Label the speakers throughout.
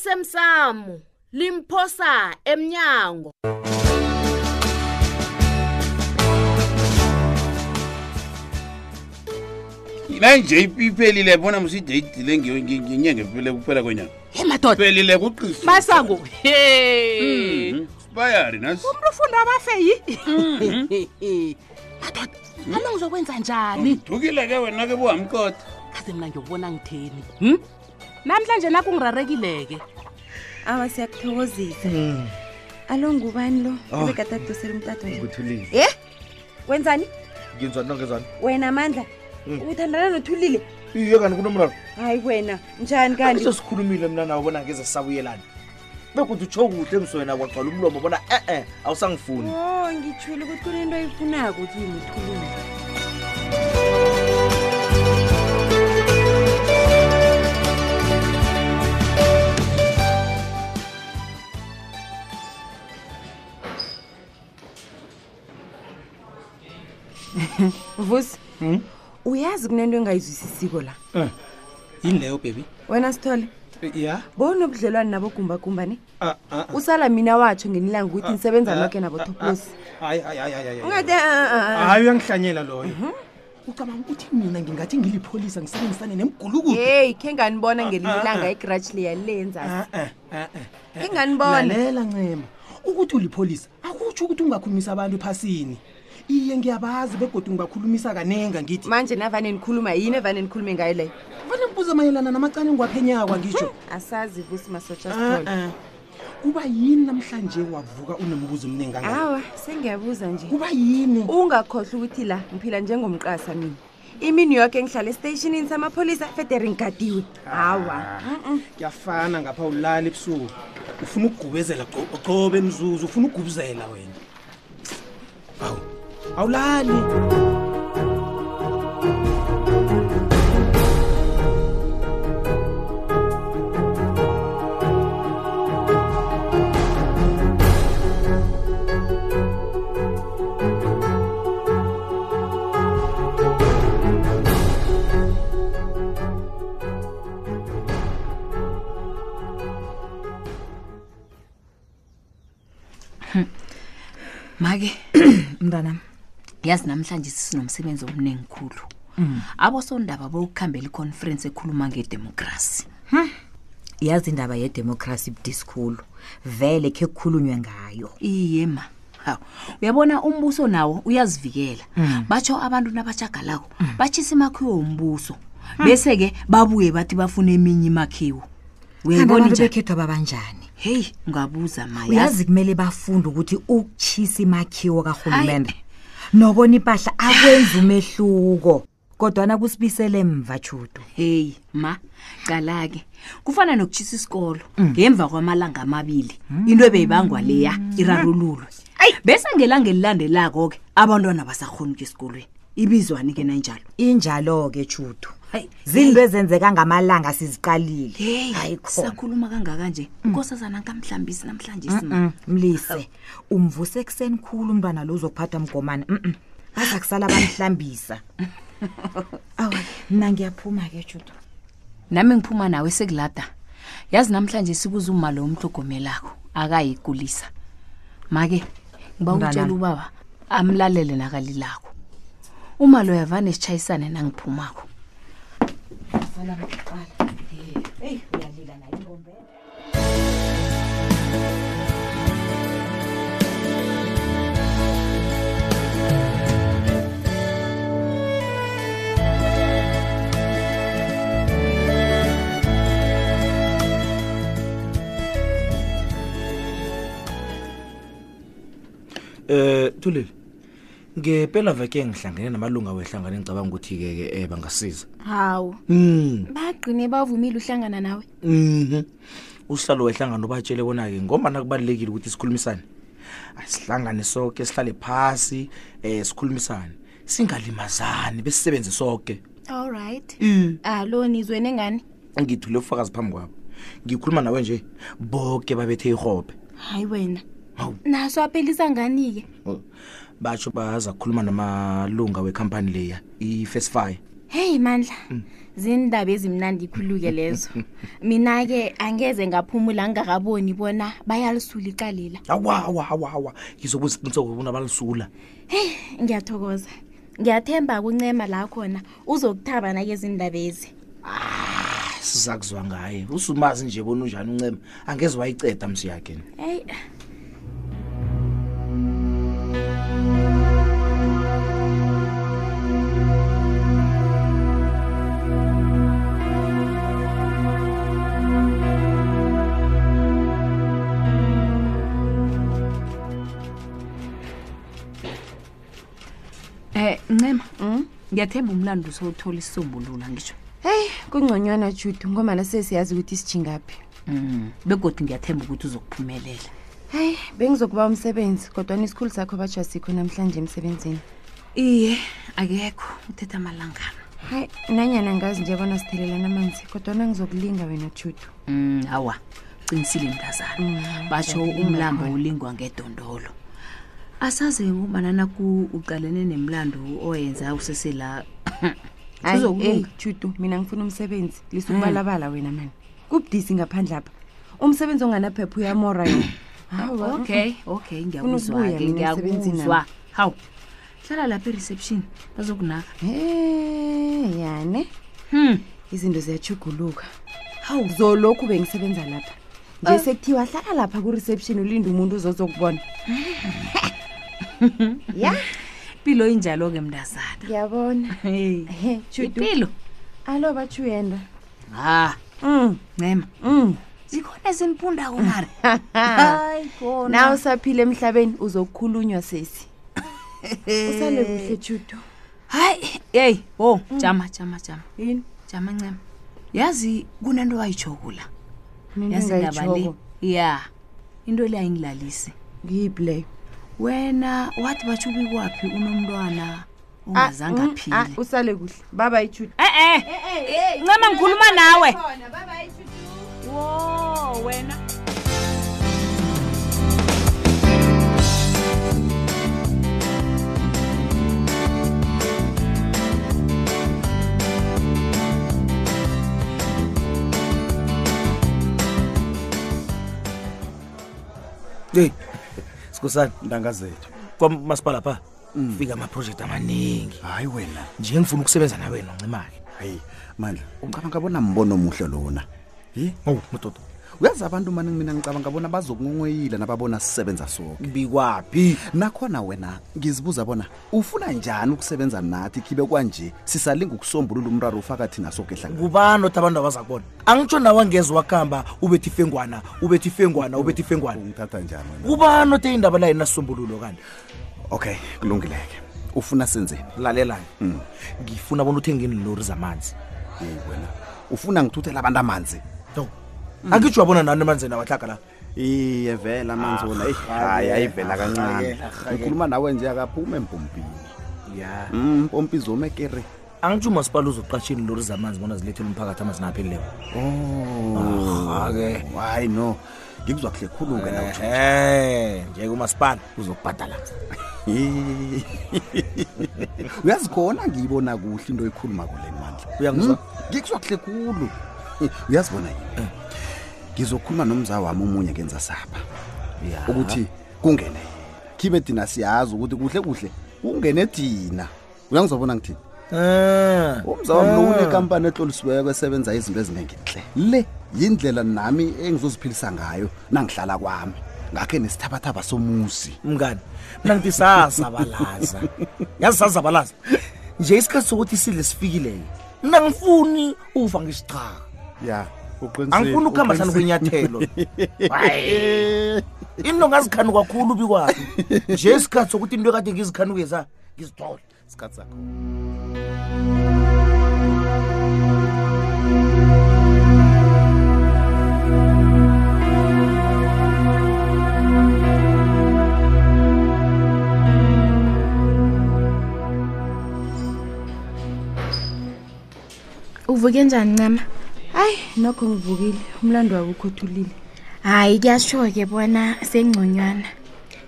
Speaker 1: osemsamo limphosa emnyango
Speaker 2: nanje ipi- iphelile bona mside idile nge- nge- ngenyanga ephele kuphela kwenyanga
Speaker 3: he madoda
Speaker 2: phelile kuqisa
Speaker 3: masango
Speaker 4: Hmm.
Speaker 3: he
Speaker 2: Mhm. bayari nasi
Speaker 3: umntu ufunda abafeyi Mm-hmm. madoda ana ngizokwenza njani
Speaker 2: dukile ke wena ke buhamqotha
Speaker 3: kaze mna ngiyokubona ngitheni hm? namhlanje nakungirarekile-ke
Speaker 5: awa siyakuthokozisa alo ngubani lo obekatadosela umtato
Speaker 6: Mm.
Speaker 5: nje
Speaker 7: nguthulile
Speaker 5: ye wenzani
Speaker 7: ngenzwani nangenzwani
Speaker 5: wena amandla uthandana nothulile
Speaker 7: iye kanti kunomraro
Speaker 5: hayi wena njani kanti
Speaker 7: iso sikhulumile mna nawo bona ngeze sisabuyelani bekuthi utsho kuhle emswena kwagcwala umlomo bona e-e awusangifuni
Speaker 5: o ngitshwile ukuthi kunento ayifunako kimi uthulile vusi uyazi kunento engayizwisisiko la
Speaker 6: yini leyo bebi
Speaker 5: wena sithole
Speaker 6: E, ya
Speaker 5: bowunobudlelwane nabogumbagumba ne
Speaker 6: Ah, ah, ah.
Speaker 5: usala mina watsho ngenilanga ukuthi nisebenza
Speaker 6: ah,
Speaker 5: noke
Speaker 6: ah,
Speaker 5: nabotoplosi
Speaker 6: hayi hayi hayi, hayi hayi.
Speaker 5: ungathi ah, ah, ah.
Speaker 6: hayi uyangihlanyela loyo ucabanga ukuthi mina ngingathi ngilipholisa ngisebenzisane nemgulukudu
Speaker 5: heyi khe nganibona ngelinye ilanga igratshi leyalilenza khe
Speaker 6: Eh,
Speaker 5: nganibona
Speaker 6: lalela ncema ukuthi ulipholisa akutsho ukuthi ungakhulumisa abantu ephasini iye ngiyabazi begodwa ngibakhulumisa kanenga ngithi
Speaker 5: manje navane nikhuluma yini evane nikhulume ngayo leyo
Speaker 6: fane mbuza mayelana namacane ngiwaphenyakwa ngisho
Speaker 5: asazi vusi masotsha
Speaker 6: Ah,
Speaker 5: sithole
Speaker 6: ah. kuba yini namhlanje wavuka unombuzo omningi kangaka?
Speaker 5: awa sengiyabuza nje
Speaker 6: kuba yini
Speaker 5: ungakhohlwa ukuthi la ngiphila njengomqasa mina imini yoke ngihlala esiteyishinini samapholisa federe ngigadiwe hawa Mm-mm.
Speaker 6: kuyafana ngapha ulala ebusuku ufuna ukugubezela gco- gcobe mzuzu ufuna ukugubuzela wena awu awulali
Speaker 8: make mntanam yazi namhlanje sisinomsebenzi omningi khulu
Speaker 9: Mm.
Speaker 8: abosondaba bokukhambela iconference ekhuluma ngedemokrasi
Speaker 9: yazi indaba yedemokhrasi budiskhulu vele khe kukhulunywe ngayo
Speaker 8: iye ma hawu uyabona umbuso nawo uyazivikela
Speaker 9: Mm.
Speaker 8: batsho abantu nabajagalako batshisa imakhiwo wombuso bese-ke babuye bathi bafuna eminye imakhiwo
Speaker 9: Kanti
Speaker 8: uyayibona
Speaker 9: abantu
Speaker 8: njani
Speaker 9: bekhethwa babanjani
Speaker 8: heyi ungabuza ma yazi
Speaker 9: uyazi kumele bafunde ukuthi ukutshisa imakhiwo karhulumente nobona impahla akwenza umehluko kodwana kusibisele mva tshudu
Speaker 8: heyi ma qala-ke kufana nokutshisa isikolo ngemva kwamalanga amabili into ebeyibangwa leya irarululwe bese ngelanga elilandelako-ke abantwana basakhona ukuya esikolweni ibizwani-ke nanjalo
Speaker 9: injalo-ke tshudu zinto ezenzeka ngamalanga siziqalile
Speaker 8: heyi
Speaker 9: Hayi khona
Speaker 8: sakhuluma kangaka nje nkosazana kamhlambisi namhlanje
Speaker 5: Hmm.
Speaker 8: sima
Speaker 9: Mm, mlise umvuse ekuseni khulu umntwana lo uzokuphathwa mgomane mm baza kusala bamhlambisa awa mna ngiyaphuma ke judo
Speaker 8: nami ngiphuma nawe sekulada yazi namhlanje sikuze uma lo mhlogomelako akayikulisa make ngiba utshela
Speaker 9: Mntanami.
Speaker 8: ubaba amlalele nakalilako uma lo yavane sitshayisane nangiphumako
Speaker 7: um thulile ngempela veke ngihlangene namalunga wehlangane ngicabanga ukuthi-ke-ke um bangasiza
Speaker 4: hawu
Speaker 7: um
Speaker 4: bagqine bavumile uhlangana nawe
Speaker 7: Mhm. usihlalo wehlangano ubatshele bona-ke ngombana kubalulekile ukuthi sikhulumisane asihlangane soke sihlale phasi um sikhulumisane singalimazani besisebenze soke Mm.
Speaker 4: allright alo Ah, nizwene ngani
Speaker 7: ngithule ubufakazi phambi kwabo ngikhuluma nawe nje boke babethe ihobhe
Speaker 4: hayi wena
Speaker 7: Hawu.
Speaker 4: naso aphelisa ngani-ke
Speaker 7: batsho baza kukhuluma namalunga wekhampani leya i-fesfire
Speaker 4: heyi mandla zindaba ezimnandi khulu-ke lezo mina-ke angeze ngaphumula ngingakaboni bona bayalisula icalela
Speaker 7: awa awa awa awa ngizobuza isiqiniseko bona balisula
Speaker 4: heyi ngiyathokoza ngiyathemba kuncema la khona uzokuthaba nake zindaba ezi
Speaker 7: siza kuzwa Ah, ngaye usumazi nje bona unjani uncema angeze wayiceda msi yakhe
Speaker 4: heyi
Speaker 8: um ncema ngiyathemba umlando usowuthola isisombulula ngisho
Speaker 5: heyi kungconywana judu ngomana sesiyazi ukuthi sijingaphi
Speaker 8: um begodi ngiyathemba ukuthi uzokuphumelela
Speaker 5: heyi bengizokuba umsebenzi kodwani isikhulu sakho bajasikho namhlanje emsebenzini
Speaker 8: iye akekho uthetha amalangana
Speaker 5: hayi nanyana ngazi nje bona sithelelana amanzi kodwana ngizokulinga wena judu
Speaker 8: um hawa ucinisile mntazana batsho umlambo ulingwa ngedondolo asaze ngombana naku uqalene nemlando oyenza usesela
Speaker 5: Ayi, eyi
Speaker 8: uzokulunga
Speaker 5: judu mina ngifuna umsebenzi lisukubalabala wena mani kubudisi ngaphandle apha umsebenzi onganaphepha uyamora yena Hawa,
Speaker 8: Oh, okay okay
Speaker 5: ukubuya
Speaker 8: ngiyakuzwa-ke
Speaker 5: mina emsebenzini
Speaker 8: ngiyakuzwa hawu hlala lapha e-reception bazokunaka
Speaker 5: mm-mm. Eh, yane
Speaker 8: hmm
Speaker 5: izinto ziyachuguluka hawu zolokhu bengisebenza lapha nje sekuthiwa hlala lapha ku-reception ulinde umuntu uzozokubona ya
Speaker 8: impilo injalo-ke mntazana
Speaker 5: ngiyabona
Speaker 8: Hey,
Speaker 5: Ehe, Judu.
Speaker 8: ipilo
Speaker 5: alo bachuyenda
Speaker 8: ha
Speaker 5: mm,
Speaker 8: ncema
Speaker 5: mm.
Speaker 8: zikhona ezinipundako mari
Speaker 5: na usaphile emhlabeni uzokhulunywa sesi usale kuhle judu
Speaker 8: hayi yeyi wo jama jama jama
Speaker 5: yini
Speaker 8: jama ncema yazi kunento wayijokula
Speaker 5: Mina
Speaker 8: yazi ndaba le
Speaker 5: engayijoko.
Speaker 8: ya into le ayingilalisi
Speaker 5: ngiyiphi leyo
Speaker 8: wena wathi batsho ubikwaphi unomntwana ongazange
Speaker 5: Mm, ah, Eh,
Speaker 8: aphile Eh,
Speaker 5: usale kuhle baba ijudu
Speaker 3: e-e ncema ngikhuluma nawe wo wena
Speaker 7: eyi sikhosana
Speaker 6: ntangazethu
Speaker 7: kwamasipala pha fika amaprojekthi amaningi
Speaker 6: hayi wena
Speaker 7: nje ngifuna ukusebenza nawe noncema-ke
Speaker 6: hayi mandla ucabanga bona mbono omuhle lona ye
Speaker 7: owu madoda
Speaker 6: uyazi abantu mani mina ngicabanga bona bazokunqonqweyila nababona sisebenza soke
Speaker 7: bikwaphi
Speaker 6: nakhona wena ngizibuza bona ufuna njani ukusebenza nathi khibe kwanje sisalinga ukusombulula umraro ufaka thina soke hlangana
Speaker 7: ngubani othi abantu abaza kubona angitsho nawe angeze wakuhamba ubethi ifengwana ubethi ifengwana ubethi ifengwana
Speaker 6: ungithatha njani wena
Speaker 7: ubani othe indaba layo nasisombululo kanti
Speaker 6: okay kulungileke ufuna senzeni
Speaker 7: lalelani ngifuna bona uthenge iinlori zamanzi
Speaker 6: yeyi wena ufuna ngithuthela abantu amanzi
Speaker 7: no angitsho wabona nani emanzini awahlaga la
Speaker 6: iye vela amanzi wona eyi, hayi ayivela kancane ngikhuluma nawe nje akaphuma empompini
Speaker 7: ya
Speaker 6: Mm, mpompi zoma ekere
Speaker 7: angitsho umasipala uzoqatsha iinlori zamanzi bona zilethela umphakathi amazini aphelileko
Speaker 6: ke hayi no ngikuzwa kuhle khulu-ke na
Speaker 7: ehe njeke umasipala
Speaker 6: uzokubhadala uyazi khona ngiyibona kuhle into ekhuluma kule mandla
Speaker 7: Uyangizwa?
Speaker 6: Mm, ngikuzwa kuhle khulu uyazibona yini ngizokhuluma nomza wami omunye ngenza sapha ukuthi kungene yena. khibe thina siyazi ukuthi kuhle kuhle kungene thina uyangizobona ngithini
Speaker 7: Ah,
Speaker 6: umza wami lo unekampani etlolisiweko esebenza izinto eziningi nhle le yindlela nami engizoziphilisa ngayo nangihlala kwami ngakhe nesithabathaba somuzi
Speaker 7: mngani mna ngithi sazabalaza yazi sazabalaza nje isikhathi sokuthi sidle sifikileyo mna ngifuni uva ngesichaga
Speaker 6: ya
Speaker 7: angifuni ukuhamba hlanu kwenyathelo Hayi. into ngazikhanuka kakhulu ubikwayo nje isikhathi sokuthi into ekade ngizikhanukeza ngizithole
Speaker 6: isikhathi sakho
Speaker 4: uvuke njani ncema
Speaker 5: hayi nokho ngivukile umlando wabo ukhothulile
Speaker 4: hhayi kuyasho-ke bona sengconywana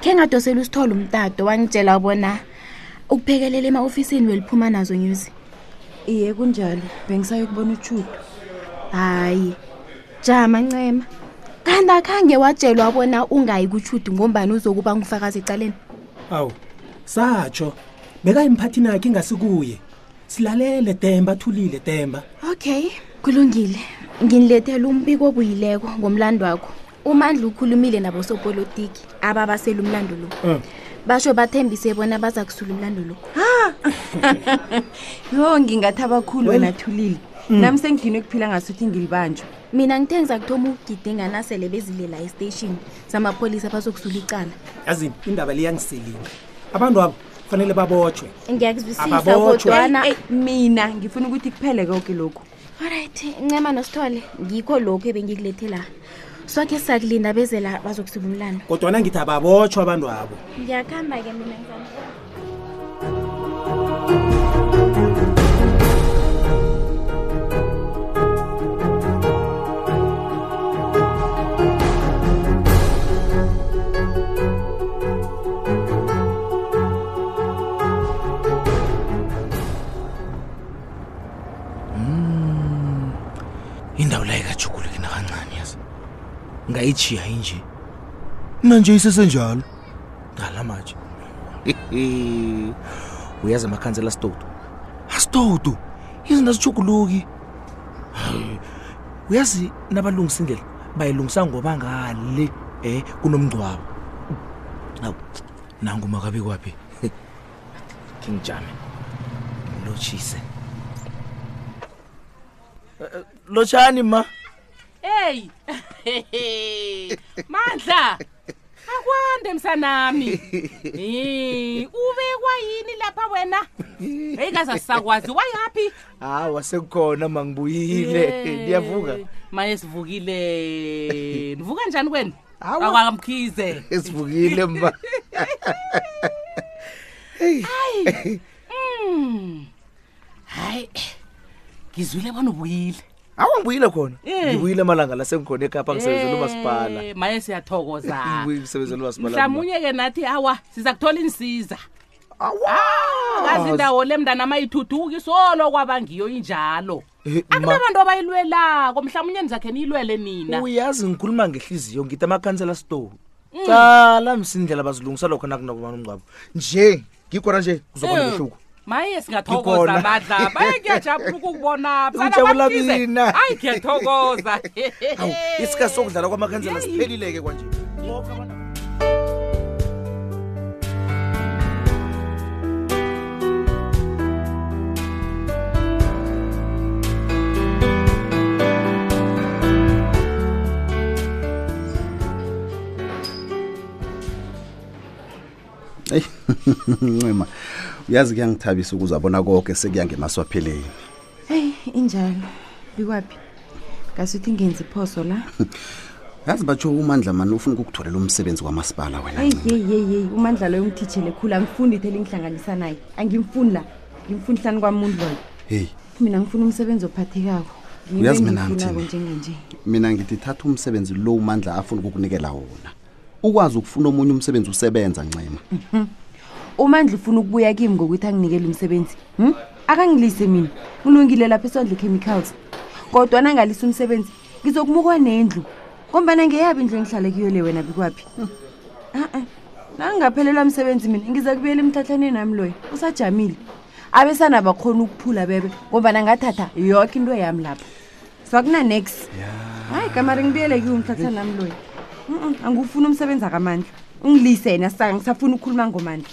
Speaker 4: khe ngadosela usithole umtato wangitshela bona ukuphekelela ema-ofisini weliphuma nazo nyuzi
Speaker 5: iye kunjalo bengisayokubona utshudo
Speaker 4: hayi jama ncema kanti akhange watshelwa bona ungayi kutshudi ngombani uzokuba ngufakazi ecaleni
Speaker 10: awu satsho bekayimphathini akhe ingasikuye silalele demba athulile demba
Speaker 4: okay kulungile nginilethela umbiko obuyileko ngomlando wakho umandla ukhulumile nabosopolitiki ababasela umlando lo basho bathembise bona baza kusula umlando lo
Speaker 5: yo ngingathaba khulu wena Mm. thulile nami sengidini ukuphila ngasuthi ngilibanjwa
Speaker 4: mina ngithe ngiza kuthoma ukugidinga nasele bezilela estation zamapholisa bazokusula icala
Speaker 10: yazini indaba leyangiselinga abantu abo kufanele babotshwe
Speaker 4: ngiyakuzwisisa
Speaker 10: Ababotjhwe.
Speaker 4: kodwana
Speaker 5: Eh, mina ngifuna ukuthi kuphele konke lokhu
Speaker 4: olright ncema nosithole ngikho lokhu ebengikulethe la soke sisakulinda bezela bazokusula umlando
Speaker 10: kodwana ngithi ababotshwe abantu abo
Speaker 4: ngiyakuhamba-ke mina ngizama
Speaker 7: indawo la ikajuguluki nakancane yazi ngayijiya inje nanje isesenjalo ngala matshe uyazi amakhansela asitodu asitodu izinto azijuguluki Hayi, uyazi nabalungisa indlela bayilungisa ngoba ngale um kunomngcwabo awu nangumakabe kwaphi khingijame ngilotshise lotshani ma
Speaker 3: eyi mandla akwande msanami Eh, ubekwa yini lapha wena eyi kaze asisakwazi wayaphi
Speaker 7: hawa sekukhona ma ngibuyile ndiyavuka
Speaker 3: maye sivukile nivuka njani kwenu
Speaker 7: Awa.
Speaker 3: akwamkhize
Speaker 7: esivukile ma
Speaker 3: hayi ngizwile bona ubuyile
Speaker 7: hawa ngibuyile khona
Speaker 3: Eh.
Speaker 7: ngibuyile amalanga la sengikhona ekhapha ngisebenzela umasipala
Speaker 3: Eh, maye siyathokoza
Speaker 7: ngisebenzela umasipala
Speaker 3: mhlamunye ke nathi awa siza kuthola insiza
Speaker 7: Ah,
Speaker 3: kazi
Speaker 7: awa
Speaker 3: indawo le mndana mayithuthuki solo kwaba ngiyo injalo
Speaker 7: Eh, ma-
Speaker 3: akunabantu abayilwelako mhlawumunye nizakhe niyilwele nina
Speaker 7: uyazi ngikhuluma ngehliziyo ngithi amakhansela store cala msindlela bazilungisa lokho nakunakubani umngcwabo nje ngikhona nje kuzoba
Speaker 3: Eh,
Speaker 7: nobuhluko
Speaker 3: maye
Speaker 7: Ngikhona.
Speaker 3: singathokoza badla baye ngiyajabula ukukubona Msana
Speaker 7: Ujabula
Speaker 3: Mabhize.
Speaker 7: mina.
Speaker 3: hayi ngiyathokoza
Speaker 7: Awu, isikhathi sokudlala kwamakhansela siphelileke kwanje Bonke abantu-
Speaker 6: eyi ncema uyazi kuyangithabisa ukuzabona konke sekuya ngemaswapheleni
Speaker 5: heyi injalo bikwaphi ngasuthi ngenza iphoso la
Speaker 6: yazi batsho umandla mani ufuna ukukutholela umsebenzi kwamasipala wena
Speaker 5: eyi
Speaker 6: Ncema.
Speaker 5: yeyi yeyi yeyi umandla loyo ungithijele khulu angifundi ithele ngihlanganisa naye angimfuni la ngimfuni hlani kwamuntu loyo
Speaker 6: heyi
Speaker 5: mina ngifuna umsebenzi ophathekako Ngiwo
Speaker 6: Uyazi mina
Speaker 5: engiwufunako
Speaker 6: ngithini?
Speaker 5: njenganje
Speaker 6: mina ngithi thatha umsebenzi lo umandla afuna ukukunikela wona ukwazi ukufuna omunye umsebenzi usebenza ncema
Speaker 5: umandla ufuna ukubuya kimi ngokuthi anginikele umsebenzi hm? akangilise mina ngilungile lapha esondle chemicals kodwa nangalisa umsebenzi ngizokumukwa nendlu ngombana ngeyabi indlu engihlale kuyo le wena bikwaphi a-a nangingaphelelwa msebenzi mina ngiza kubuyela emthathaneni nami loyo usajamile abesana bakhona ukuphula bebe ngombana ngathatha yoke into yami lapha swakunanex hayi kamari ngibuyele kiwo umhlathana nami loyo Mm, mm, angiwufuni umsebenzi akamandla ungilise yena sa ngisafuna ukukhuluma ngomandla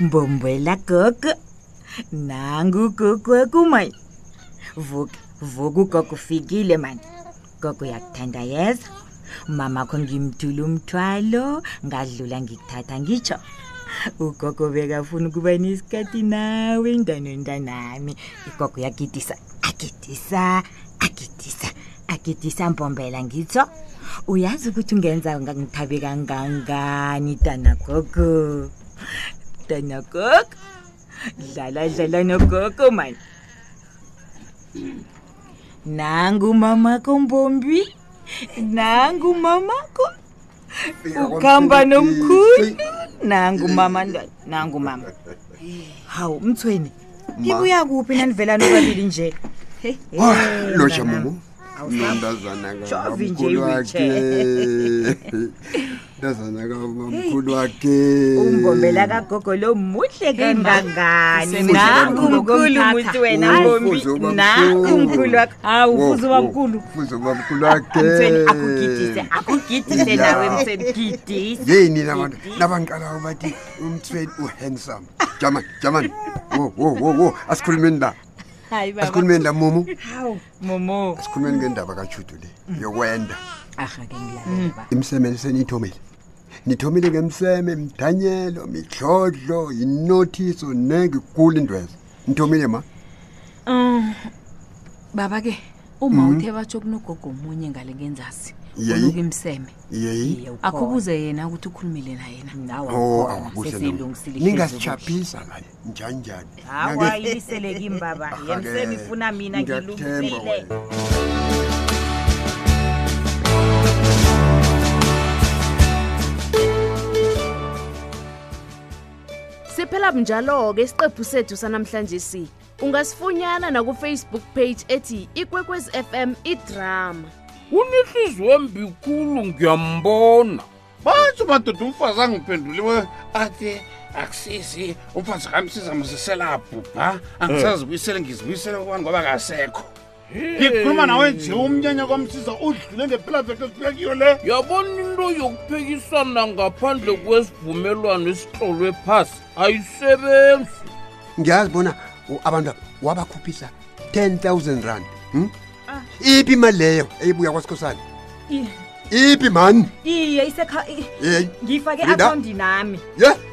Speaker 9: mbombwela gogo nangu gogo wakumani vuka vuka ugogo ufikile mani gogo uyakuthandayeza mamakho ngimthula umthwalo ngadlula ngikuthatha ngitsho ugogo bekafuna ukuba nesikhathi nawe ndanondanami igogo uyagidisa agidisa agidisa agidisa mbombela ngitsho uyazi ukuthi ungenza ngithabe kangangani dana gogo dana gogo dlala dlala nogogo mani nangu mamako mbombi nangu mamako ukhamba nomkhulu nangu mama ntwana nangu mama hawu mthweni ngibuya kuphi nanivelani obabili nje Hey, hey,
Speaker 11: loja
Speaker 9: mntanami.
Speaker 11: mumu nondazana
Speaker 9: Jovi nje
Speaker 11: kamkhulu wakhe ndazana kamkhulu wakhe
Speaker 9: umbombela kagogo lo muhle kangangani
Speaker 11: Mfuzo
Speaker 9: nangu
Speaker 11: ubamkhulu
Speaker 9: mkhulu
Speaker 11: komthatha.
Speaker 9: muthi wena
Speaker 11: Hayi.
Speaker 9: mbombi
Speaker 11: Mfuzo ubamkhulu.
Speaker 9: nangu mkhulu wakho hawu
Speaker 11: Wo,
Speaker 9: fuze
Speaker 11: wo,
Speaker 9: ubamkhulu
Speaker 11: fuzo bamkhulu wakhe
Speaker 9: mthweni akugidise akugidise
Speaker 11: Ya.
Speaker 9: nawe mthweni gidise
Speaker 11: yeni nabantu nabangiqalayo bathi umthweni uhandsome jamani jamani wo wo wo wo asikhulumeni la
Speaker 9: hayi
Speaker 11: asikhulumeni la mumu
Speaker 9: hawu momo
Speaker 11: asikhulumeni ngendaba kajudu le yokwenda
Speaker 9: arha ke ngilalela ba
Speaker 11: imsemele seniyithomile nithomile ngemseme mthanyelo midlodlo inothiso nengigula indwezo nithomile ma
Speaker 8: um baba ke uma
Speaker 11: Mhm.
Speaker 8: uthe batsho kunogogo omunye ngale ngenzasi
Speaker 11: Yeyi.
Speaker 8: uluka imseme
Speaker 11: yeyi
Speaker 8: akhubuze yena ukuthi ukhulume na yena
Speaker 11: o akukuhle ningasitshaphisa kanye njanjani
Speaker 9: hawa ibisele kimi
Speaker 7: Ah,
Speaker 9: baba
Speaker 11: Arha-ke.
Speaker 9: yemseni ifuna mina
Speaker 11: Ngiyakuthemba
Speaker 9: ngilungisile
Speaker 1: siphela njalo-ke isiqephu sethu sanamhlanje si ungasifunyana nakufacebook page ethi ikwekwezi fm idrama
Speaker 12: unenhliziyo embi khulu ngiyambona
Speaker 2: batsho madoda umfazi angiphenduliwe athi akusisi umfazi kami sizamziselapho ha angisazibuyisele ngizibuyisele kubani ngoba kasekho ngikhuluma nawe nje umnyanya kwamsiza udlule ngepelaveke esibuyakiyo le
Speaker 12: yabona into yokuphekisana ngaphandle kwesivumelwano esitlolwe phasi ayisebenzi
Speaker 11: ngiyazi bona u- abantu wabakhuphisa 10000 rand hmm? iphi imali leyo eyibuya kwasikhosana
Speaker 9: Ah. I-
Speaker 11: iphi mani
Speaker 9: iye isekha i-
Speaker 11: yeyi
Speaker 9: ngiyifake
Speaker 11: Linda.
Speaker 9: akhawundini nami
Speaker 11: ye